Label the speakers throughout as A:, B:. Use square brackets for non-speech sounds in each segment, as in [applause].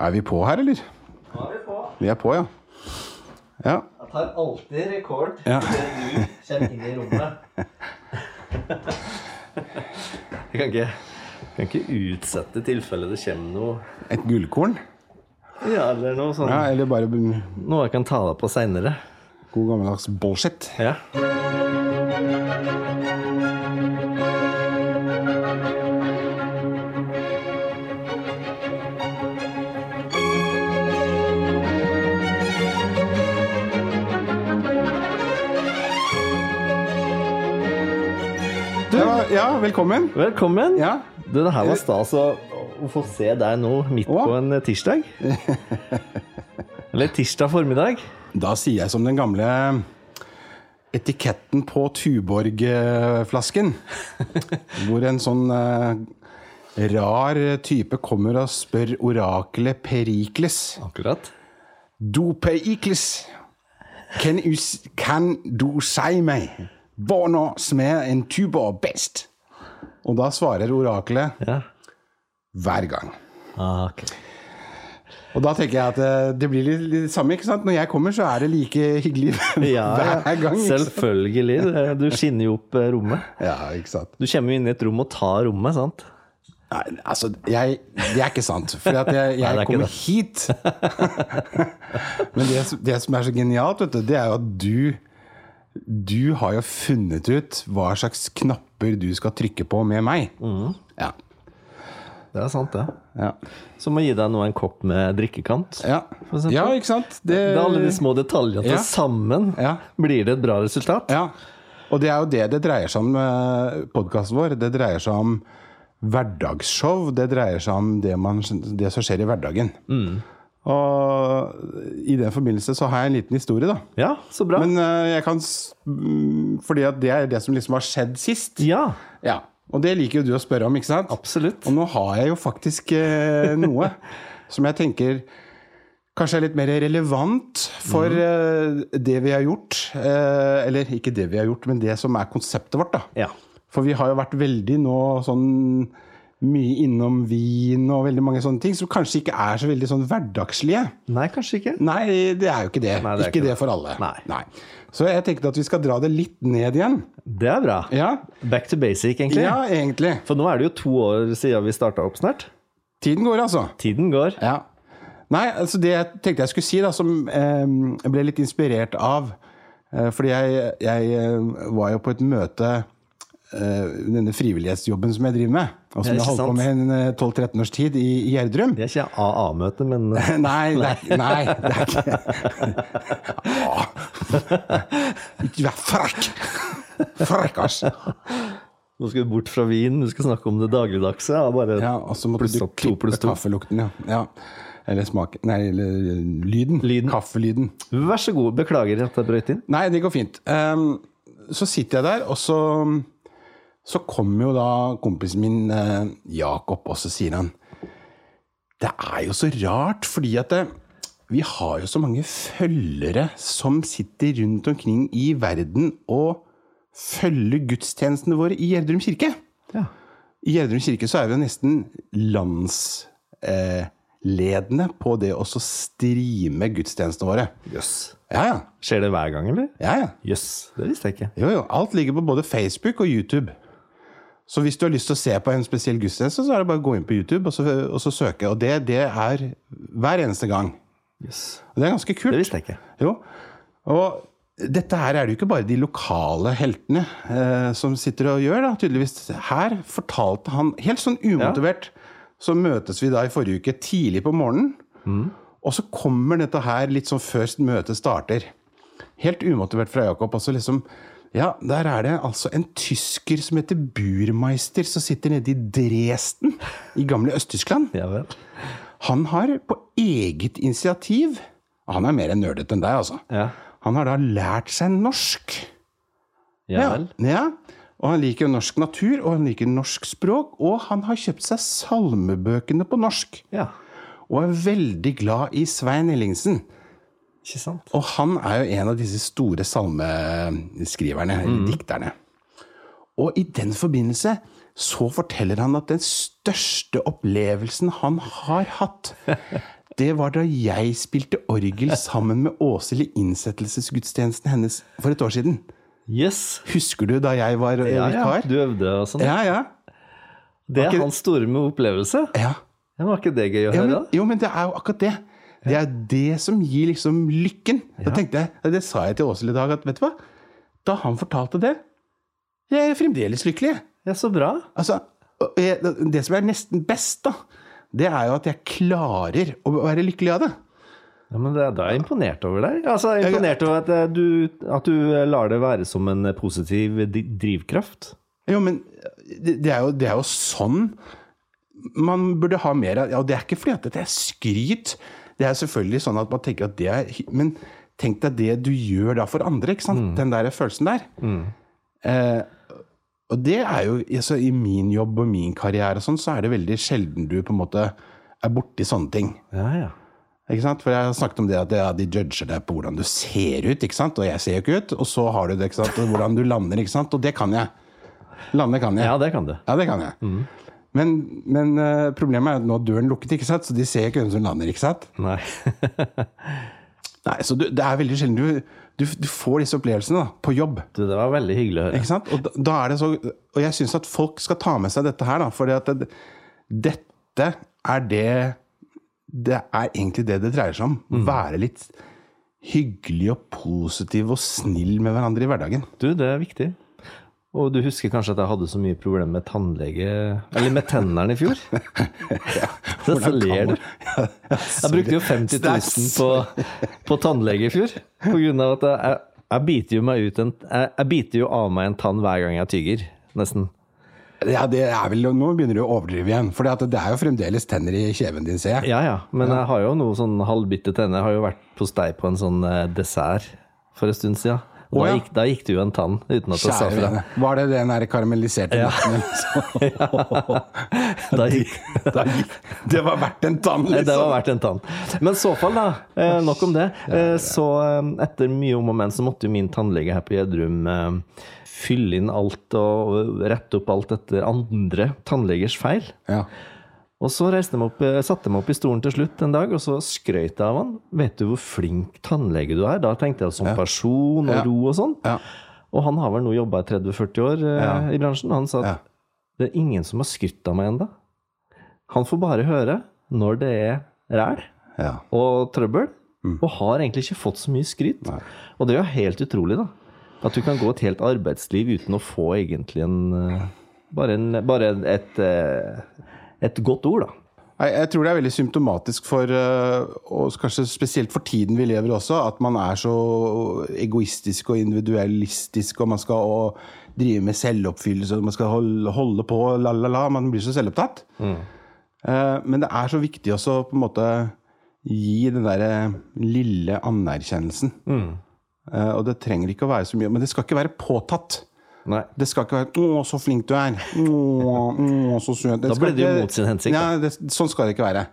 A: Er vi på her, eller?
B: Nå er vi på.
A: Vi er på, ja. Ja.
B: Jeg tar alltid rekord
A: Ja.
B: før du kommer inn i rommet. Jeg kan ikke, kan ikke utsette tilfellet det kommer noe
A: Et gullkorn.
B: Ja, eller noe sånn
A: Ja, eller bare b-
B: Noe jeg kan ta deg på seinere.
A: god gammeldags bullshit.
B: Ja.
A: Ja, ja, velkommen.
B: Velkommen.
A: Ja.
B: Du, det her var stas å, å få se deg nå midt
A: Å.
B: på en tirsdag. Eller tirsdag formiddag.
A: Da sier jeg som den gamle etiketten på Tuborg-flasken. Hvor en sånn eh, rar type kommer og spør oraklet Perikles.
B: Akkurat.
A: Du Perikles, kan, du s- kan du si meg hvornår smaker en Tuborg best? Og da svarer oraklet
B: Ja.
A: hver gang.
B: Ah, ok.
A: Og da tenker jeg at eh, det blir litt, litt samme, ikke sant? Når jeg kommer, så er det like [laughs] hyggelig
B: Ja, ja.
A: hver gang.
B: liksom.
A: Ikke sant?
B: Selvfølgelig. Det- Du skinner jo opp eh, rommet.
A: Ja, ikke sant?
B: Du kommer jo inn i et rom og tar rommet, sant?
A: Nei, altså, jeg, det er ikke sant. For at jeg, jeg
B: det er ikke
A: kommer
B: det.
A: hit.
B: [laughs]
A: Men det, som- det som er så genialt, vet du, det er jo at du Du har jo funnet ut hva slags knapper du skal trykke på med meg.
B: Mm.
A: Ja.
B: Det er sant, det.
A: Ja.
B: Som å gi deg nå en kopp med drikkekant.
A: Ja.
B: For eksempel.
A: ja, ikke sant? Det,
B: Det er alle de små detaljene
A: Ja.
B: til sammen.
A: Ja.
B: Blir det et bra resultat?
A: Ja. Og det er jo det det dreier seg om, podkasten vår. Det dreier seg om hverdagsshow. Det dreier seg om det, man, det som skjer i hverdagen. Og i den forbindelse så har jeg en liten historie, da.
B: Ja, så bra.
A: Men eh, jeg kan s- mm, Fordi at det er det som liksom har skjedd sist.
B: ja,
A: Ja. Og det liker jo du å spørre om, ikke sant?
B: absolutt.
A: Og nå har jeg jo faktisk eh, noe som jeg tenker kanskje er litt mer relevant
B: Mhm.
A: for eh, det vi har gjort. Eh, eller ikke det vi har gjort, men det som er konseptet vårt, da.
B: Ja.
A: For vi har jo vært veldig nå sånn mye innom vin og veldig mange sånne ting som kanskje ikke er så veldig sånn hverdagslige.
B: Nei, kanskje ikke.
A: Nei, det er jo ikke det.
B: Nei, det
A: ikke,
B: er ikke
A: det
B: det.
A: for alle.
B: Nei.
A: Så jeg tenkte at vi skal dra det litt ned igjen.
B: Det er bra.
A: Ja,
B: Back to basic, egentlig.
A: ja egentlig.
B: For nå er det jo to år siden vi starta opp snart.
A: Tiden går, altså.
B: Tiden går.
A: Ja. Nei, altså det jeg tenkte jeg skulle si, da, som eh, jeg ble litt inspirert av eh, Fordi jeg, jeg eh, var jo på et møte eh, Denne frivillighetsjobben som jeg driver med, og som jeg
B: Ja, ikke
A: holdt på
B: sant?
A: med en eh, 12-13 års tid i, i Gjerdrum.
B: Det er ikke AA-møte, men
A: [laughs]
B: eh,
A: Nei, det er, nei, det er ikke [laughs] Åh. Ikke vær frekk! Frekkas!
B: nå skal du bort fra vin, du skal snakke om det dagligdagse. Ja, bare
A: Ja, og så måtte
B: Pluss
A: du
B: opp to,
A: klippe
B: pluss to.
A: kaffelukten, ja. ja. Eller smaken Nei, eller eh, lyden.
B: Lyden.
A: Kaffelyden.
B: Vær så god, beklager at jeg brøyt inn.
A: Nei, det går fint. Ehm, så sitter jeg der, og så, så kommer jo da kompisen min eh, Jakob, og så sier han Det er jo så rart, fordi at det, vi har jo så mange følgere som sitter rundt omkring i verden og følger gudstjenestene våre i Gjerdrum kirke.
B: Ja.
A: I Gjerdrum kirke så er vi jo nesten landsledende eh, ledende på det å så streame gudstjenestene våre.
B: Jøss.
A: Ja, ja.
B: Skjer det hver gang, eller?
A: ja, ja.
B: Jøss, det visste jeg ikke.
A: Jo, jo. Alt ligger på både Facebook og YouTube. Så hvis du har lyst til å se på en spesiell gudstjeneste, så er det bare å gå inn på YouTube og så, og så søke. Og det, det er hver eneste gang.
B: Jøss.
A: Og det er ganske kult.
B: Det visste jeg ikke.
A: Jo. Og dette her er det jo ikke bare de lokale heltene eh, som sitter og gjør, da, tydeligvis. Her fortalte han, helt sånn umotivert, så møtes vi da i forrige uke tidlig på morgenen. Og så kommer dette her litt sånn før møtet starter. Helt umotivert fra Jakob. Og så liksom Ja, der er det altså en tysker som heter Burmeister, som sitter nede i Dresden i gamle Øst-Tyskland.
B: Ja vel.
A: Han har på eget initiativ Han er mer nerdete enn deg, altså.
B: Ja.
A: Han har da lært seg norsk.
B: Ja vel.
A: ja. Og han liker norsk natur, og han liker norsk språk, og han har kjøpt seg salmebøkene på norsk.
B: Ja.
A: Og er veldig glad i Svein Ellingsen.
B: Ikke sant?
A: Og han er jo en av disse store salmeskriverne,
B: Mm.
A: eller dikterne. Og i den forbindelse
B: [laughs]
A: så forteller han at den største opplevelsen han har hatt, det var da jeg spilte orgel sammen med Åshild i innsettelsesgudstjenesten hennes for et år siden.
B: Yes.
A: Husker du da jeg var eh,
B: Ja, ja.
A: vikar?
B: Du øvde og sånn.
A: Ja, ja.
B: Det er
A: ikke-
B: hans store med opplevelse.
A: ja.
B: Ja, Var ikke det gøy å
A: ja
B: høre?
A: men,
B: da?
A: jo, men det er jo akkurat det. Det er det som gir liksom lykken. Da tenkte jeg, Det sa jeg til Åshild i dag, at vet du hva? Da han fortalte det Jeg er fremdeles lykkelig, jeg.
B: Ja, så bra.
A: Altså, og jeg- det som er nesten best, da, det er jo at jeg klarer å være lykkelig av det.
B: Ja, men det, Da er jeg imponert over deg. Altså, jeg er imponert over at eh, du, at du eh, lar det være som en eh, positiv di- drivkraft.
A: Jo, men eh, det det er jo, det er jo sånn man burde ha mer av. Ja, og det er ikke fordi at det er skryt. Det er selvfølgelig sånn at man tenker at det er hy- Men tenk deg det du gjør da for andre, ikke sant? Den der følelsen der. Eh, og det er jo altså, I min jobb og min karriere og sånn, så er det veldig sjelden du på en måte er borti sånne ting.
B: Ja, ja.
A: Ikke sant? For jeg har snakket om det at ja, de judger deg på hvordan du ser ut, ikke sant? og jeg ser jo ikke ut. Og så har du det, ikke sant? og hvordan du lander, ikke sant? og det kan jeg. Lande kan jeg.
B: Ja, det kan du.
A: Ja, det kan jeg.
B: Mm.
A: Men, men eh, problemet er at nå er døren lukket, ikke sant? så de ser ikke hvem som lander. ikke sant?
B: Nei. [laughs]
A: Nei, så du, Det er veldig sjelden du, du, du får disse opplevelsene da, på jobb.
B: Du, det var veldig hyggelig å høre.
A: Ikke sant? Og, da, da er det så, og jeg syns at folk skal ta med seg dette her, da, for det, dette er det Det er egentlig det det dreier seg om.
B: Mm.
A: Være litt hyggelig og positiv og snill med hverandre i hverdagen.
B: Du, det er viktig. Og du husker kanskje at jeg hadde så mye problemer med tannlege Eller med tennene i [laughs] fjor? Så, så
A: Hvordan kan
B: ler du.
A: man- [laughs] Ja, ja,
B: Jeg brukte jo 50 000 på, på tannlege i fjor. På grunn av at jeg, jeg, jeg biter jo meg ut en jeg, jeg biter jo av meg en tann hver gang jeg tygger. Nesten.
A: Ja, det er vel, Nå begynner du å overdrive igjen, for det er jo fremdeles tenner i kjeven din, ser jeg.
B: Ja ja. Men jeg har jo noe sånn halvbitte tenner. Jeg har jo vært hos deg på en sånn eh, dessert for en stund siden.
A: Å,
B: Og da,
A: ja.
B: gikk, da gikk det jo en tann uten at jeg sa
A: Kjære
B: fra.
A: vene. Var det den der karamelliserte
B: [laughs]
A: natten?
B: Da gikk,
A: Da gikk- Det var verdt en tann,
B: Nei, det var
A: liksom!
B: verdt en tann. Men i så fall, da. Eh, nok om det. Eh, så eh, etter mye om og men, så måtte jo min tannlege her på Gjedrum eh, fylle inn alt og og rette opp alt etter andre tannlegers feil.
A: Ja.
B: Og så reiste jeg meg opp, eh, satte jeg meg opp i stolen til slutt en dag, og så skrøt jeg av han. Vet du hvor flink tannlege du er? Da tenkte jeg som person og
A: Ja.
B: ro og sånn.
A: Ja.
B: Og han har vel nå jobba i 30-40 år eh,
A: Ja.
B: i bransjen. Han sa at
A: Ja.
B: det er ingen som har skrytt av meg ennå. Han får bare høre når det er ræl
A: ja.
B: og trøbbel. Og har egentlig ikke fått så mye skryt.
A: Mm. Nei.
B: Og det er jo helt utrolig, da. At du kan gå et helt arbeidsliv uten å få egentlig en eh, Bare, en, bare en- et, eh, et godt ord, da.
A: Nei, Jeg tror det er veldig symptomatisk for, eh, og kanskje spesielt for tiden vi lever også, at man er så egoistisk og individualistisk, og man skal og drive med selvoppfyllelse, og man skal holde, holde på, la, la, la. Man blir så selvopptatt. Eh, Men det er så viktig også å på en måte gi den derre lille anerkjennelsen. Eh, Og det trenger ikke å være så mye, men det skal ikke være påtatt.
B: Nei.
A: Det skal ikke være 'Å, så flink du er'. Å, å, så søt.
B: Da
A: skal
B: ble det jo
A: ikke-
B: mot sin hensikt, da.
A: Ja, det, sånn skal det ikke være.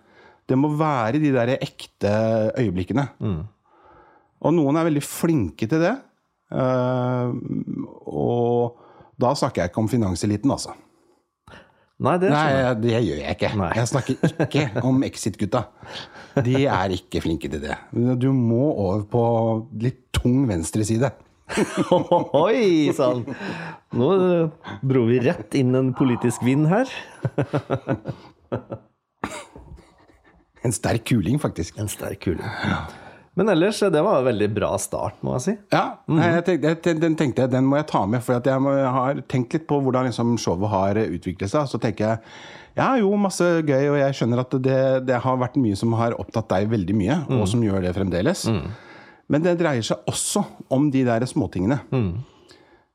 A: Det må være de der ekte øyeblikkene.
B: Mm.
A: Og noen er veldig flinke til det. Eh, og da snakker jeg ikke om finanseliten, altså.
B: Nei, det
A: Nei,
B: skjønner jeg.
A: det gjør jeg ikke.
B: Nei.
A: Jeg snakker ikke om Exit-gutta. De er ikke flinke til det. Du må over på litt tung venstreside.
B: [laughs] Oi sann! Nå eh, dro vi rett inn en politisk vind her.
A: En sterk kuling, faktisk.
B: En sterk kule. Men ellers, eh, det var en veldig bra start, må jeg si.
A: Ja, nei, jeg tenkte, jeg, ten- den tenkte jeg, den må jeg ta med, for at jeg må, jeg har tenkt litt på hvordan liksom showet har eh, utviklet seg. Så tenker jeg ja, jo, masse gøy, og jeg skjønner at det, det har vært mye som har opptatt deg veldig mye, og som gjør det fremdeles. Men det dreier seg også om de der småtingene.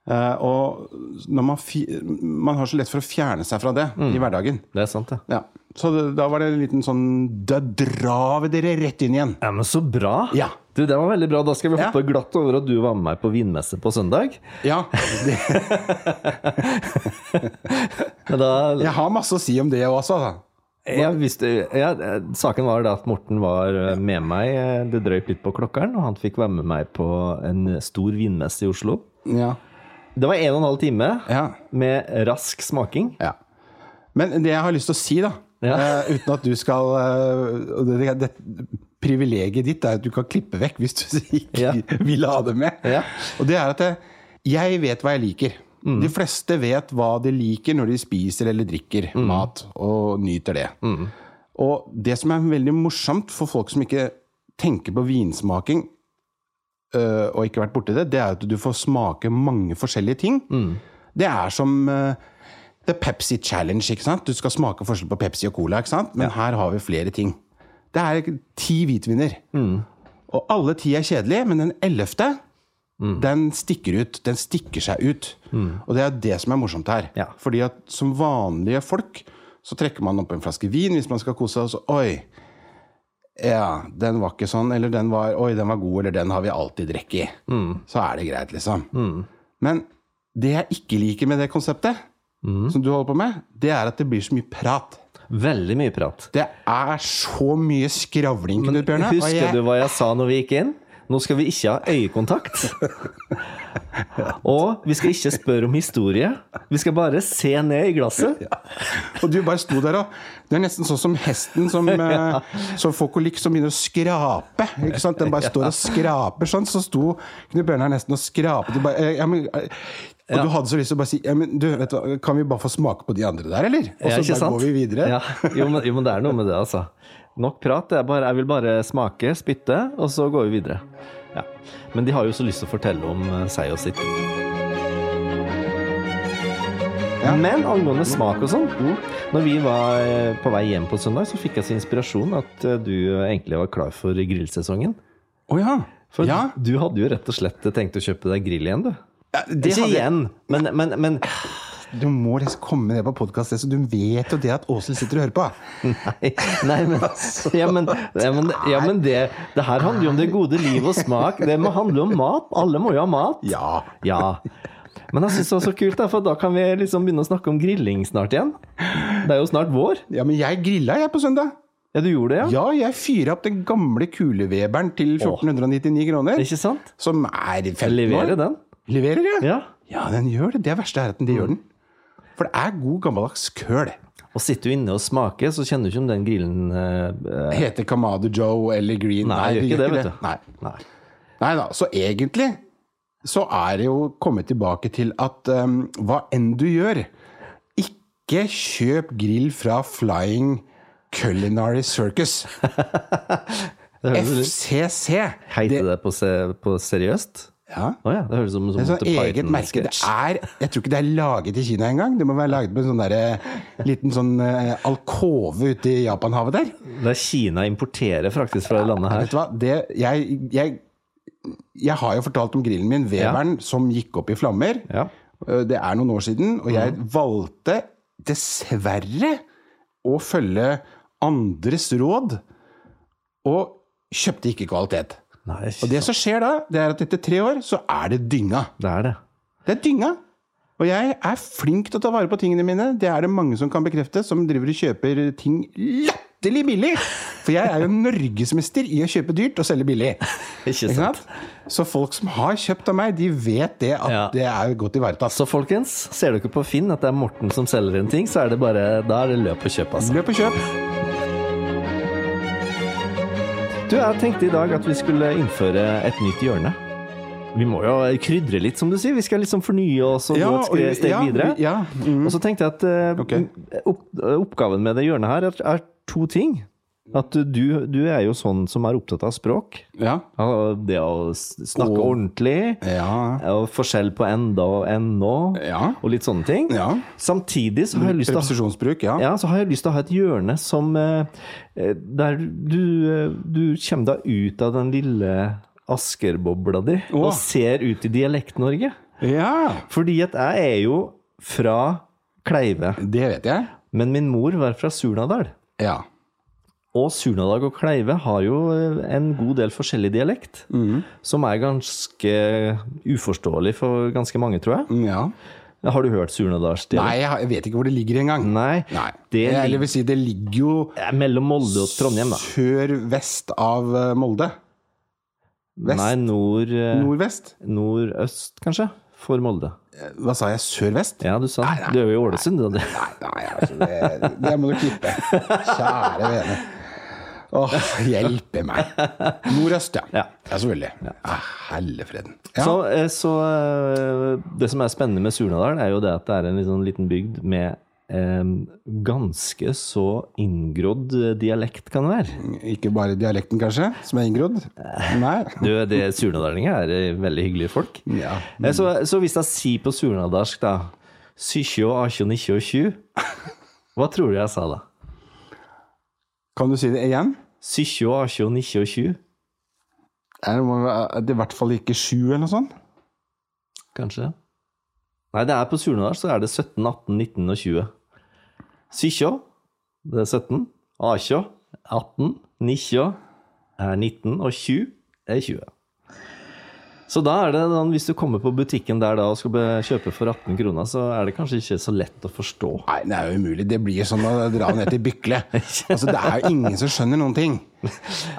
A: Eh, og når man, fi, man har så lett for å fjerne seg fra det i hverdagen.
B: Det er sant, det.
A: Ja. Så det, da var det en liten sånn Da drar vi dere rett inn igjen!
B: Ja, men så bra!
A: Ja.
B: Du, Det var veldig bra. Da skal vi
A: Ja.
B: hoppe glatt over at du var med meg på vinmesse på søndag.
A: Ja, det,
B: Men Da, ja.
A: jeg har masse å si om det også, altså.
B: jeg visste, ja, saken var da at Morten var eh, med meg. eh, Det drøyt litt på klokkeren, og han fikk være med meg på en stor vinmesse i Oslo.
A: Ja.
B: Det var en og en halv time
A: Ja.
B: med rask smaking.
A: Ja. Men det jeg har lyst til å si, da,
B: Ja.
A: eh, uten at du skal eh, og det, det, Privilegiet ditt er at du kan klippe vekk hvis du ikke
B: Ja.
A: [laughs] vil ha det med.
B: Ja.
A: Og det er at jeg, jeg vet hva jeg liker. De fleste vet hva de liker når de spiser eller drikker mat, og nyter det. Og det som er veldig morsomt for folk som ikke tenker på vinsmaking, øh, og ikke vært borti det, det er at du får smake mange forskjellige ting. Det er som øh, The Pepsi Challenge. ikke sant? Du skal smake forskjell på Pepsi og Cola, ikke sant? men her har vi flere ting. Det er ti hvitviner. Og alle ti er kjedelige, men den ellevte den stikker ut. Den stikker seg ut. Og det er det som er morsomt her.
B: Ja.
A: Fordi at som vanlige folk så trekker man opp en flaske vin hvis man skal kose seg, og så Oi! Ja, den var ikke sånn, eller den var Oi, den var god, eller den har vi alltid drikke i. Så er det greit, liksom. Men det jeg ikke liker med det konseptet, som du holder på med, det er at det blir så mye prat.
B: Veldig mye prat.
A: Det er så mye skravling, Knut Bjørne. og
B: Husker
A: jeg-
B: du hva jeg sa når vi gikk inn? Nå skal vi ikke ha øyekontakt.
A: [laughs]
B: Og vi skal ikke spørre om historie. Vi skal bare se ned i glasset.
A: Og du bare sto der og Det er nesten sånn som hesten
B: [laughs]
A: som, eh, som får kolikk, som begynner å skrape. Ikke sant? Den
B: [laughs]
A: bare står og skraper sånn. Så sto Knut Bjørnar nesten og skrapet. Du bare, eh, ja, men, eh, og du hadde så lyst til å bare si ja, men, du, vet du, hva, Kan vi bare få smake på de andre der, eller? Og
B: Ja,
A: så
B: ikke
A: bare
B: sant?
A: går vi videre.
B: Ja. Jo, men, jo, men det er noe med det, altså. Nok prat. Jeg, bare, jeg vil bare smake, spytte, og så går vi videre. Ja. Men de har jo så lyst til å fortelle om eh, seg og sitt.
A: Ja.
B: Men angående smak og sånn Når vi var eh, på vei hjem på søndag, så fikk jeg så inspirasjon at eh, du egentlig var klar for grillsesongen.
A: Å ja.
B: For
A: ja.
B: du hadde jo rett og slett tenkt å kjøpe deg grill igjen, du.
A: Ja, det
B: Ikke
A: hadde jeg-
B: igjen, men, men, men
A: Du må liksom komme med det på podkast, så du vet jo det at Åshild sitter og hører på.
B: Nei, nei, men, ja, men, ja, men, ja, men det, det her handler jo om det gode liv og smak. Det må handle om mat. Alle må jo ha mat.
A: Ja.
B: Ja. Men jeg syns det var så kult, da, for da kan vi liksom begynne å snakke om grilling snart igjen. Det er jo snart vår.
A: ja, men jeg grilla, jeg, på søndag.
B: Ja, du gjorde det, ja?
A: Ja, jeg fyra opp den gamle kuleveberen til 1499 kroner.
B: Ikke sant?
A: Som er 15
B: Leverer
A: år.
B: den?
A: Leverer, ja.
B: Ja.
A: Ja, den gjør det. Det verste er at den det gjør den. For det er god gammeldags køl.
B: Og sitter du inne og smaker, så kjenner du ikke om den grillen eh, eh,
A: Heter Kamado Joe eller Green.
B: Nei, gjør ikke det, vet du.
A: Nei.
B: Nei.
A: Nei da. Så egentlig så er det jo kommet tilbake til at um, hva enn du gjør, ikke kjøp grill fra Flying Culinary
B: [laughs]
A: Circus.
B: Det høres,
A: FCC.
B: heter det på, se, på seriøst?
A: Ja.
B: Å ja. Det høres ut som, som
A: Det er sånn
B: Monty
A: eget merke. Det
B: Python-sketsj.
A: er, jeg tror ikke det er laget i Kina engang. Det må være laget på en sånn der, eh, liten sånn eh, alkove ute i Japanhavet der.
B: Det er Kina importerer faktisk fra det landet her.
A: Vet du hva? Det, jeg, jeg, jeg har jo fortalt om grillen min, Weberen, som gikk opp i flammer.
B: Ja. Mhm.
A: Eh, Det er noen år siden, og jeg valgte dessverre å følge andres råd, og kjøpte ikke kvalitet.
B: Nei,
A: Og det som skjer da, det er at etter tre år så er det dynga.
B: Det er det.
A: Det er dynga. Og jeg er flink til å ta vare på tingene mine. Det er det mange som kan bekrefte, som driver og kjøper ting latterlig billig. For jeg er jo norgesmester i å kjøpe dyrt og selge billig. [laughs]
B: Ikke
A: Ikke
B: sant?
A: sant? Så folk som har kjøpt av meg, de vet det at
B: Ja.
A: det er godt ivaretatt.
B: Så folkens, ser dere på Finn at det er Morten som selger en ting, så er det bare, da er det løp og kjøp, altså.
A: Løp og kjøp.
B: Du, jeg tenkte i dag at vi skulle innføre et nytt hjørne. Vi må jo krydre litt, som du sier. Vi skal liksom fornye oss og gå et
A: og-
B: skre- steg
A: ja,
B: videre.
A: Ja, mm.
B: Og så tenkte jeg at eh,
A: Ok.
B: opp, oppgaven med det hjørnet her er, er to ting. At du, du er jo sånn som er opptatt av språk.
A: ja.
B: Av Det å s- snakke
A: Og-
B: ordentlig.
A: Ja.
B: Og forskjell på enda og ennå.
A: Ja.
B: Og litt sånne ting.
A: ja.
B: Samtidig så har jeg lyst til å
A: Repetisjonsbruk, ja.
B: ja, så har jeg lyst til å ha et hjørne som eh, eh, Der du, eh, du kommer deg ut av den lille Asker-bobla di
A: Åh.
B: og ser ut i Dialekt-Norge.
A: Ja,
B: Fordi at jeg er jo fra Kleive,
A: det vet jeg.
B: men min mor var fra Surnadal.
A: Ja.
B: Og Surnadag og Kleive har jo eh, en god del forskjellig dialekt.
A: Mhm.
B: Som er ganske uforståelig for ganske mange, tror jeg.
A: Mm, ja.
B: Har du hørt
A: Nei,
B: surnadalsdialekt?
A: jeg har- jeg vet ikke hvor det ligger engang.
B: Nei.
A: Nei. Mm.
B: Det
A: Det,
B: lig-
A: Eller vil si, det ligger jo
B: Eh, Mellom Molde og Trondheim, da.
A: sør-vest av eh, Molde. Vest?
B: Nei, nord... eh,
A: Nordvest?
B: Nordøst, kanskje? for Molde?
A: Hva sa jeg? Sør-vest?
B: Ja, du sa Du er jo i Ålesund, da. Det-
A: Nei, nei, altså det, det må du klippe. Kjære vene. Åh, hjelpe meg. Nordøst, ja.
B: Ja.
A: ja. selvfølgelig. Ja, Hellefreden. Ja.
B: Så, eh, så eh, det som er spennende med Surnadal, er jo det at det er en litt sånn liten bygd med eh, ganske så inngrodd eh, dialekt, kan det være.
A: Ikke bare dialekten, kanskje, som er inngrodd?
B: Eh.
A: Nei.
B: Du, det Surnadalinger er eh, veldig hyggelige folk.
A: Ja.
B: Eh, Så, så hvis jeg sier på surnadarsk, da Sykkje og akje og nikkje og tju Hva tror du jeg sa da?
A: Kan du si det igjen?
B: Sykkje og akje og nikkje og tju
A: Er det, må være- det er i hvert fall ikke sju, eller noe sånt?
B: Kanskje. Nei, det er på Surnadal så er det 17, 18, 19 og 20. Sykkjå, det er 17. Akjå, 18. Nikkjå er 19. eh, Og 20 er 20. Så da er det sånn, hvis du kommer på butikken der da og skal be- kjøpe for 18 kroner, så er det kanskje ikke så lett å forstå.
A: Nei, det er jo umulig. Det blir som å dra ned til Bykle.
B: [laughs]
A: Altså, det er jo ingen som skjønner noen ting.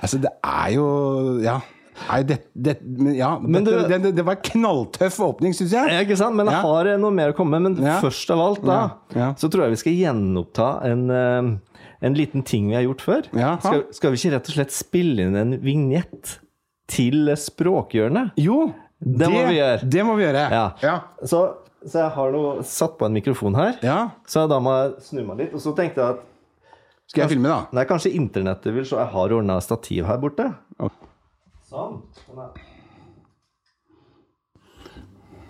A: Altså, det er jo Ja. Nei, det, det, men ja,
B: Men
A: dette,
B: du-
A: det, det, det var knalltøff åpning, syns jeg.
B: Ja, ikke sant? Men jeg
A: Ja.
B: har eh, noe mer å komme med. Men
A: Ja.
B: først av alt, da,
A: Ja, ja.
B: så tror jeg vi skal gjenoppta en, eh, en liten ting vi har gjort før.
A: Jaha.
B: Skal, skal vi ikke rett og slett spille inn en vignett til eh, språkhjørnet?
A: Jo, det,
B: må vi gjøre.
A: Det må vi gjøre.
B: Ja.
A: Ja.
B: Så, så jeg har nå satt på en mikrofon her,
A: Ja.
B: så da må jeg snu meg litt. Og så tenkte jeg at
A: Skal jeg filme, da?
B: Nei, kanskje internettet vil se. Jeg har ordna stativ her borte.
A: Ok.
B: Sånn. Sånn er det.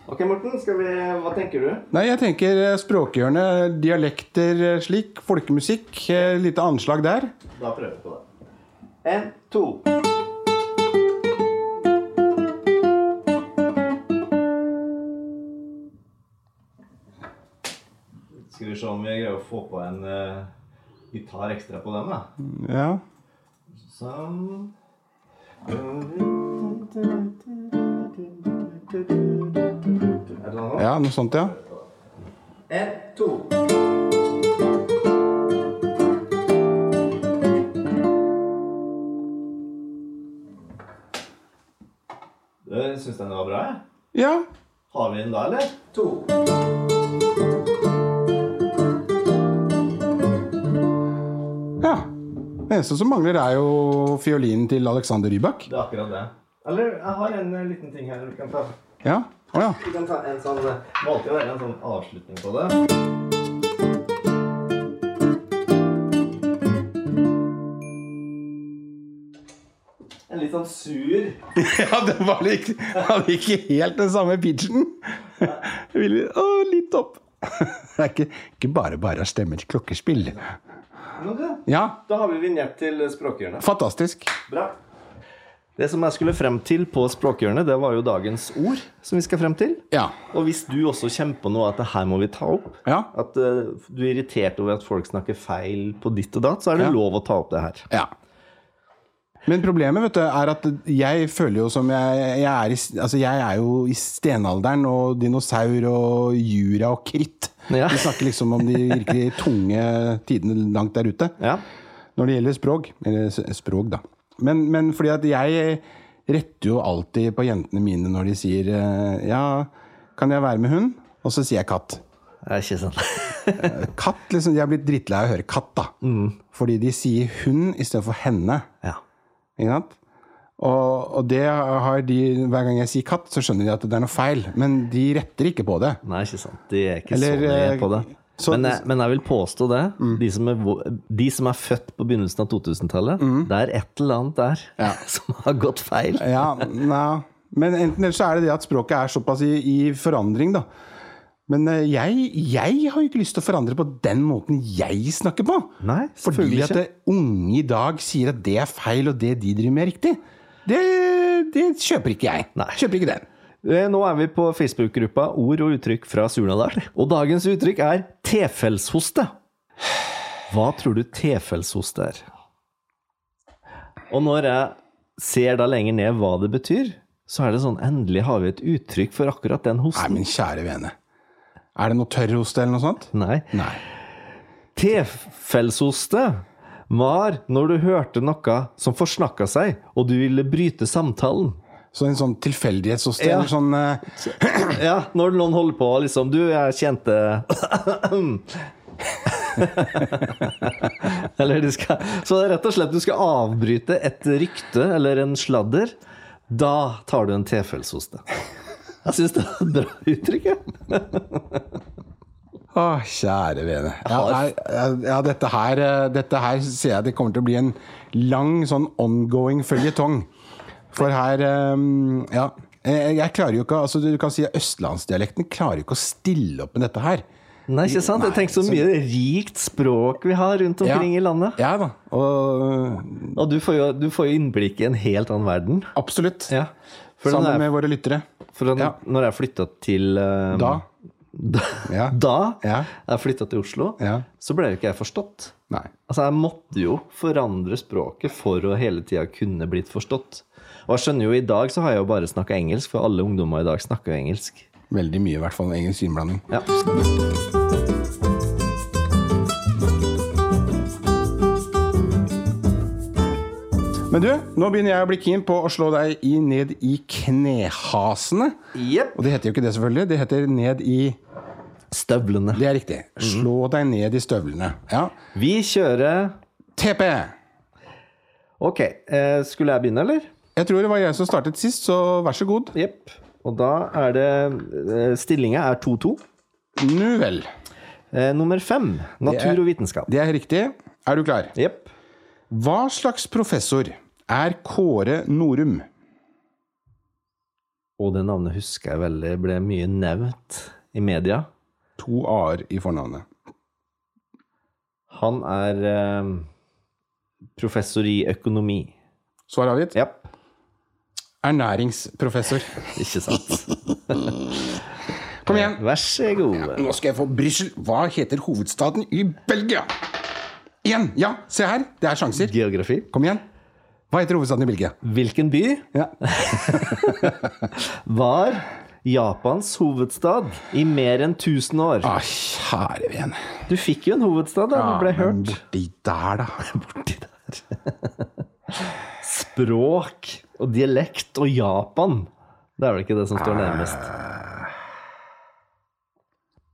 B: Ok, Morten. Skal vi, hva tenker du?
A: Nei, jeg tenker eh, språkhjørne, dialekter eh, slik, folkemusikk, eh, lite anslag der.
B: Da prøver vi på det. En, to. Skal vi se om vi greier å få på en eh, gitar ekstra på den, da.
A: Ja.
B: Sånn. Er det noe?
A: ja, noe sånt, ja.
B: En, to. Det syns den var bra, jeg.
A: Ja.
B: Har vi den da, eller? To.
A: ja. Det eneste som mangler, er jo fiolinen til Alexander Rybak.
B: Det er akkurat det. Eller jeg har en eh, liten ting her du kan ta.
A: Ja. Å ja.
B: Vi kan ta en sånn eh, Valgte å velge en sånn avslutning på det. En litt sånn sur
A: [laughs] Ja, det var ikke, hadde ikke helt den samme pitchen. Jeg ville- Å, litt opp. Det er ikke, ikke bare bare å stemme til klokkespill.
B: Men du,
A: Ja,
B: Da har vi vignett til Språkhjørnet.
A: fantastisk.
B: Bra. Det som jeg skulle frem til på Språkhjørnet, det var jo dagens ord som vi skal frem til.
A: Ja.
B: Og hvis du også kjenner på noe at det her må vi ta opp,
A: Ja.
B: at eh, du er irritert over at folk snakker feil på ditt og datt, så er
A: Ja.
B: det lov å ta opp det her.
A: Ja. Men problemet vet du, er at jeg føler jo som jeg, jeg, er, i, altså jeg er jo i stenalderen og dinosaur og jura og kritt.
B: Ja.
A: Vi snakker liksom om de virkelig tunge tidene langt der ute.
B: Ja.
A: Når det gjelder språk. Eller s- språk, da. Men, men fordi at jeg retter jo alltid på jentene mine når de sier eh, ja, kan jeg være med hund? Og så sier jeg katt.
B: Det er ikke
A: sånn.
B: sant.
A: Katt, liksom, Jeg er blitt drittlei av å høre katt, da. Fordi de sier hun istedenfor henne.
B: [laughs] ja.
A: Ikke sant? Og, og det har de, hver gang jeg sier katt, så skjønner de at det er noe feil. Men de retter ikke på det.
B: Nei, ikke sant. De er ikke
A: Eller, eh,
B: så nøye på det.
A: så- Mm.
B: men, jeg, men jeg vil påstå det. De, som er, vo- de som er født på begynnelsen av 2000-tallet,
A: Mm.
B: det er et eller annet der [laughs] som har gått feil.
A: Ja, nei. Men enten eller så er det det at språket er såpass i, i forandring, da. Men eh, jeg, jeg har jo ikke lyst til å forandre på den måten jeg snakker på.
B: Nei,
A: Fordi
B: selvfølgelig
A: at det, unge i dag sier at det er feil, og det de driver med, er riktig. Det, det kjøper ikke jeg.
B: Nei.
A: Kjøper ikke den.
B: Eh, Nå er vi på Facebook-gruppa Ord og uttrykk fra Surnadal. Og dagens uttrykk er tefellshoste. Hva tror du tefellshoste er? Og når jeg ser da lenger ned hva det betyr, så er det sånn endelig har vi et uttrykk for akkurat den
A: Nei,
B: hosten.
A: men kjære vene. Er det noe tørrhoste eller noe sånt?
B: Nei.
A: Nei.
B: Tefellshoste var når du hørte noe som forsnakka seg, og du ville bryte samtalen.
A: Så en sånn tilfeldighetsost
B: Ja.
A: eller sånn eh,
B: Ja, når noen holder på liksom Du, jeg kjente Eller de skal Så det er rett og slett du skal avbryte et rykte eller en sladder. Da tar du en tefølsoste. Jeg syns det er et bra uttrykk. jeg.
A: Å, kjære vene. Ja, nei, ja, dette her, eh, dette her ser jeg det kommer til å bli en lang sånn ongoing føljetong. For her eh, Ja. Jeg, jeg klarer jo ikke altså Du kan si at østlandsdialekten klarer jo ikke å stille opp med dette her.
B: Nei, ikke sant? Jeg tenker så mye rikt språk vi har rundt omkring
A: Ja.
B: i landet.
A: Ja da. Og eh,
B: Og du får jo du får jo innblikk i en helt annen verden.
A: absolutt.
B: Ja. For når
A: Sammen
B: jeg-
A: med våre lyttere.
B: For da
A: Ja.
B: når jeg flytta til eh,
A: Da.
B: Da,
A: Ja.
B: da
A: Ja.
B: jeg flytta til Oslo,
A: Ja.
B: så ble jo ikke jeg forstått.
A: Nei.
B: Altså, jeg måtte jo forandre språket for å hele tida kunne blitt forstått. Og jeg skjønner jo, i dag så har jeg jo bare snakka engelsk, for alle ungdommer i dag snakker jo engelsk.
A: Veldig mye, i hvert fall. Engelsk innblanding.
B: Ja.
A: Men du, nå begynner jeg å bli keen på å slå deg i ned i knehasene.
B: Jepp.
A: Og det heter jo ikke det, selvfølgelig. Det heter ned i
B: Støvlene.
A: Det er riktig. Slå deg ned i støvlene. Ja.
B: Vi kjører
A: TP.
B: Ok, eh, skulle jeg begynne, eller?
A: Jeg tror det var jeg som startet sist, så vær så god.
B: Jepp. Og da er det eh, Stillinga er 2-2.
A: Nu vel.
B: Eh, nummer fem, natur og vitenskap.
A: Det er riktig. Er du klar?
B: Jepp.
A: Hva slags professor er Kåre Norum?
B: Og det navnet husker jeg veldig ble mye nevnt i media.
A: To a-er i fornavnet.
B: Han er eh, professor i økonomi.
A: Svar avgitt?
B: Japp.
A: Ernæringsprofessor.
B: Ikke sant?
A: Kom igjen.
B: Vær så god.
A: Nå skal jeg få Brussel. Hva heter hovedstaden i Belgia? Igjen. Ja, se her. Det er sjanser.
B: Geografi.
A: Kom igjen. Hva heter hovedstaden i Belgia?
B: Hvilken by
A: Ja.
B: var Japans hovedstad i mer enn 1000 år?
A: Ah, kjære vene.
B: Du fikk jo en hovedstad da du ble
A: Ja, men
B: hørt.
A: Borti der, da.
B: [laughs] Borti der. Språk og dialekt og Japan. Det er vel ikke det som
A: Ah.
B: står nærmest?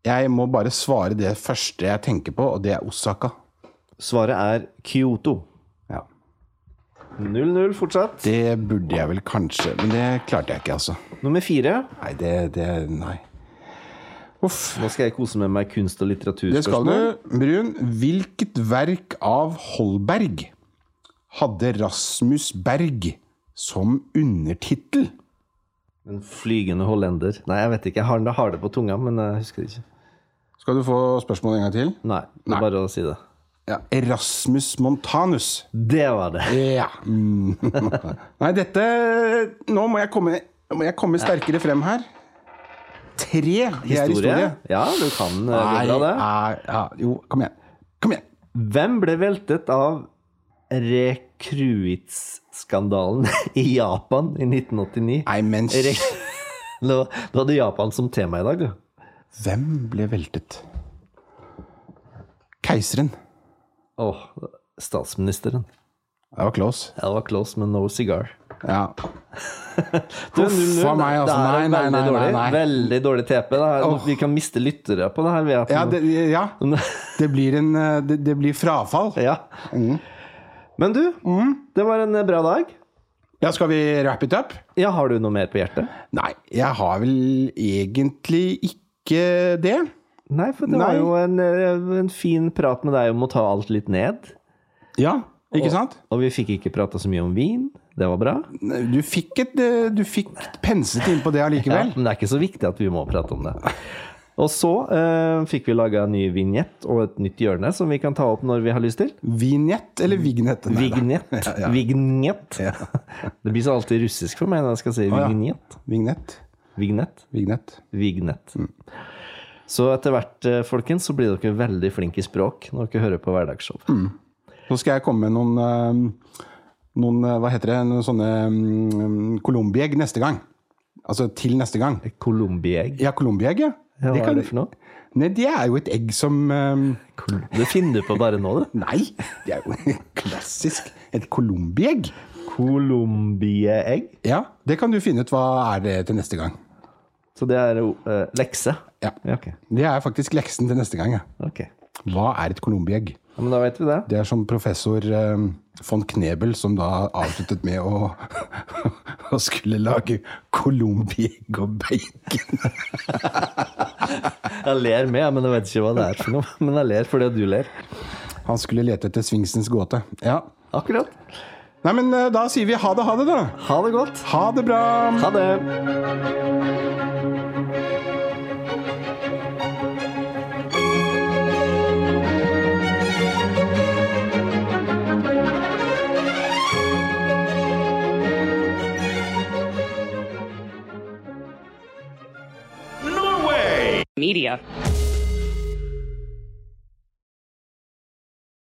A: Jeg må bare svare det første jeg tenker på, og det er Osaka.
B: Svaret er Kyoto. 0-0 fortsatt.
A: Det burde jeg vel kanskje, men det klarte jeg ikke, altså.
B: Nummer fire.
A: Nei, det, det Nei. Uff.
B: Nå skal jeg kose med meg kunst-
A: Det skal
B: og
A: du,
B: litteraturspørsmål.
A: Brun. Hvilket verk av Holberg hadde Rasmus Berg som undertittel?
B: En flygende hollender. Nei, jeg vet ikke. Jeg har, jeg har det på tunga, men jeg husker det ikke.
A: Skal du få spørsmålet en gang til?
B: Nei, det
A: Nei.
B: er bare å si det.
A: Ja. Erasmus Montanus.
B: Det var det.
A: Ja. Mm. [laughs] Nei, dette Nå må jeg komme, må jeg komme sterkere frem her. Tre det er historie.
B: Ja, du kan eh,
A: Nei,
B: bidra det.
A: nei, ja, jo, kom igjen. Kom igjen.
B: Hvem ble veltet av Rekruits-skandalen [laughs] i Japan i 1989?
A: Nei, men
B: Re- Nå- Du hadde Japan som tema i dag, du.
A: hvem ble veltet? Keiseren.
B: Åh, statsministeren.
A: Det var close.
B: Jeg var close, men no cigar.
A: Ja.
B: Du,
A: Huff,
B: 0-0.
A: for meg, altså.
B: Det er
A: Nei, nei,
B: veldig
A: nei, nei,
B: dårlig,
A: nei.
B: Veldig dårlig TP. Det er- Vi kan miste lyttere på det her. Ved at
A: Ja, det, ja. det blir en eh, Det, det blir frafall.
B: [laughs] ja.
A: Mm.
B: Men du, det var en eh, bra dag.
A: Ja, skal vi wrap it up?
B: Ja, har du noe mer på hjertet?
A: Nei, jeg har vel egentlig ikke det.
B: Nei, for det var
A: Nei.
B: jo en, eh, en fin prat med deg om å ta alt litt ned.
A: Ja, ikke sant?
B: Og vi fikk ikke prata så mye om vin. Det var bra.
A: Du fikk, et, eh, du fikk penset innpå det
B: Ja, [laughs]
A: allikevel.
B: men det er ikke så viktig at vi må prate om det. Og så eh, fikk vi laga en ny vignett og et nytt hjørne som vi kan ta opp når vi har lyst til.
A: Vignett eller vignett? Nei, da. [laughs]
B: Vignett. Vignett. [laughs] Det blir så alltid russisk for meg når jeg skal si
A: ja.
B: vignett.
A: Vignett.
B: Vignett.
A: Vignett.
B: Vignett.
A: Mm.
B: Så etter hvert, eh, folkens, så blir dere veldig flinke i språk når dere hører på hverdagsshow.
A: Mm. Så skal jeg komme med noen, eh, noen eh, hva heter det, noen sånne mm, Colombiegg neste gang. Altså til neste gang.
B: Colombiegg.
A: Ja, Colombiegg, ja.
B: Ja,
A: Det
B: hva
A: kan-
B: er det for noe?
A: Nei, det er jo et egg som eh,
B: Det finner du på bare nå, du.
A: [laughs] Nei, det er jo klassisk. Et colombiegg.
B: Colombie-egg.
A: Ja, det kan du finne ut hva er det til neste gang.
B: Så det er jo, eh, lekse.
A: Ja.
B: Ja, ok.
A: Det er faktisk leksen til neste gang. Ja.
B: ok.
A: Hva er et colombiegg?
B: Ja, men da vet vi det.
A: Det er som professor eh, von Knebel som da avsluttet med å, [laughs] å skulle lage colombiegg og bacon.
B: Jeg ler med, men jeg vet ikke hva det er for noe. [laughs] Men jeg ler fordi du ler.
A: Han skulle lete etter Sfinksens gåte. Ja.
B: Akkurat.
A: Nei, men eh, da sier vi ha det, ha det, da.
B: Ha det godt.
A: Ha det bra.
B: Ha det.
C: media.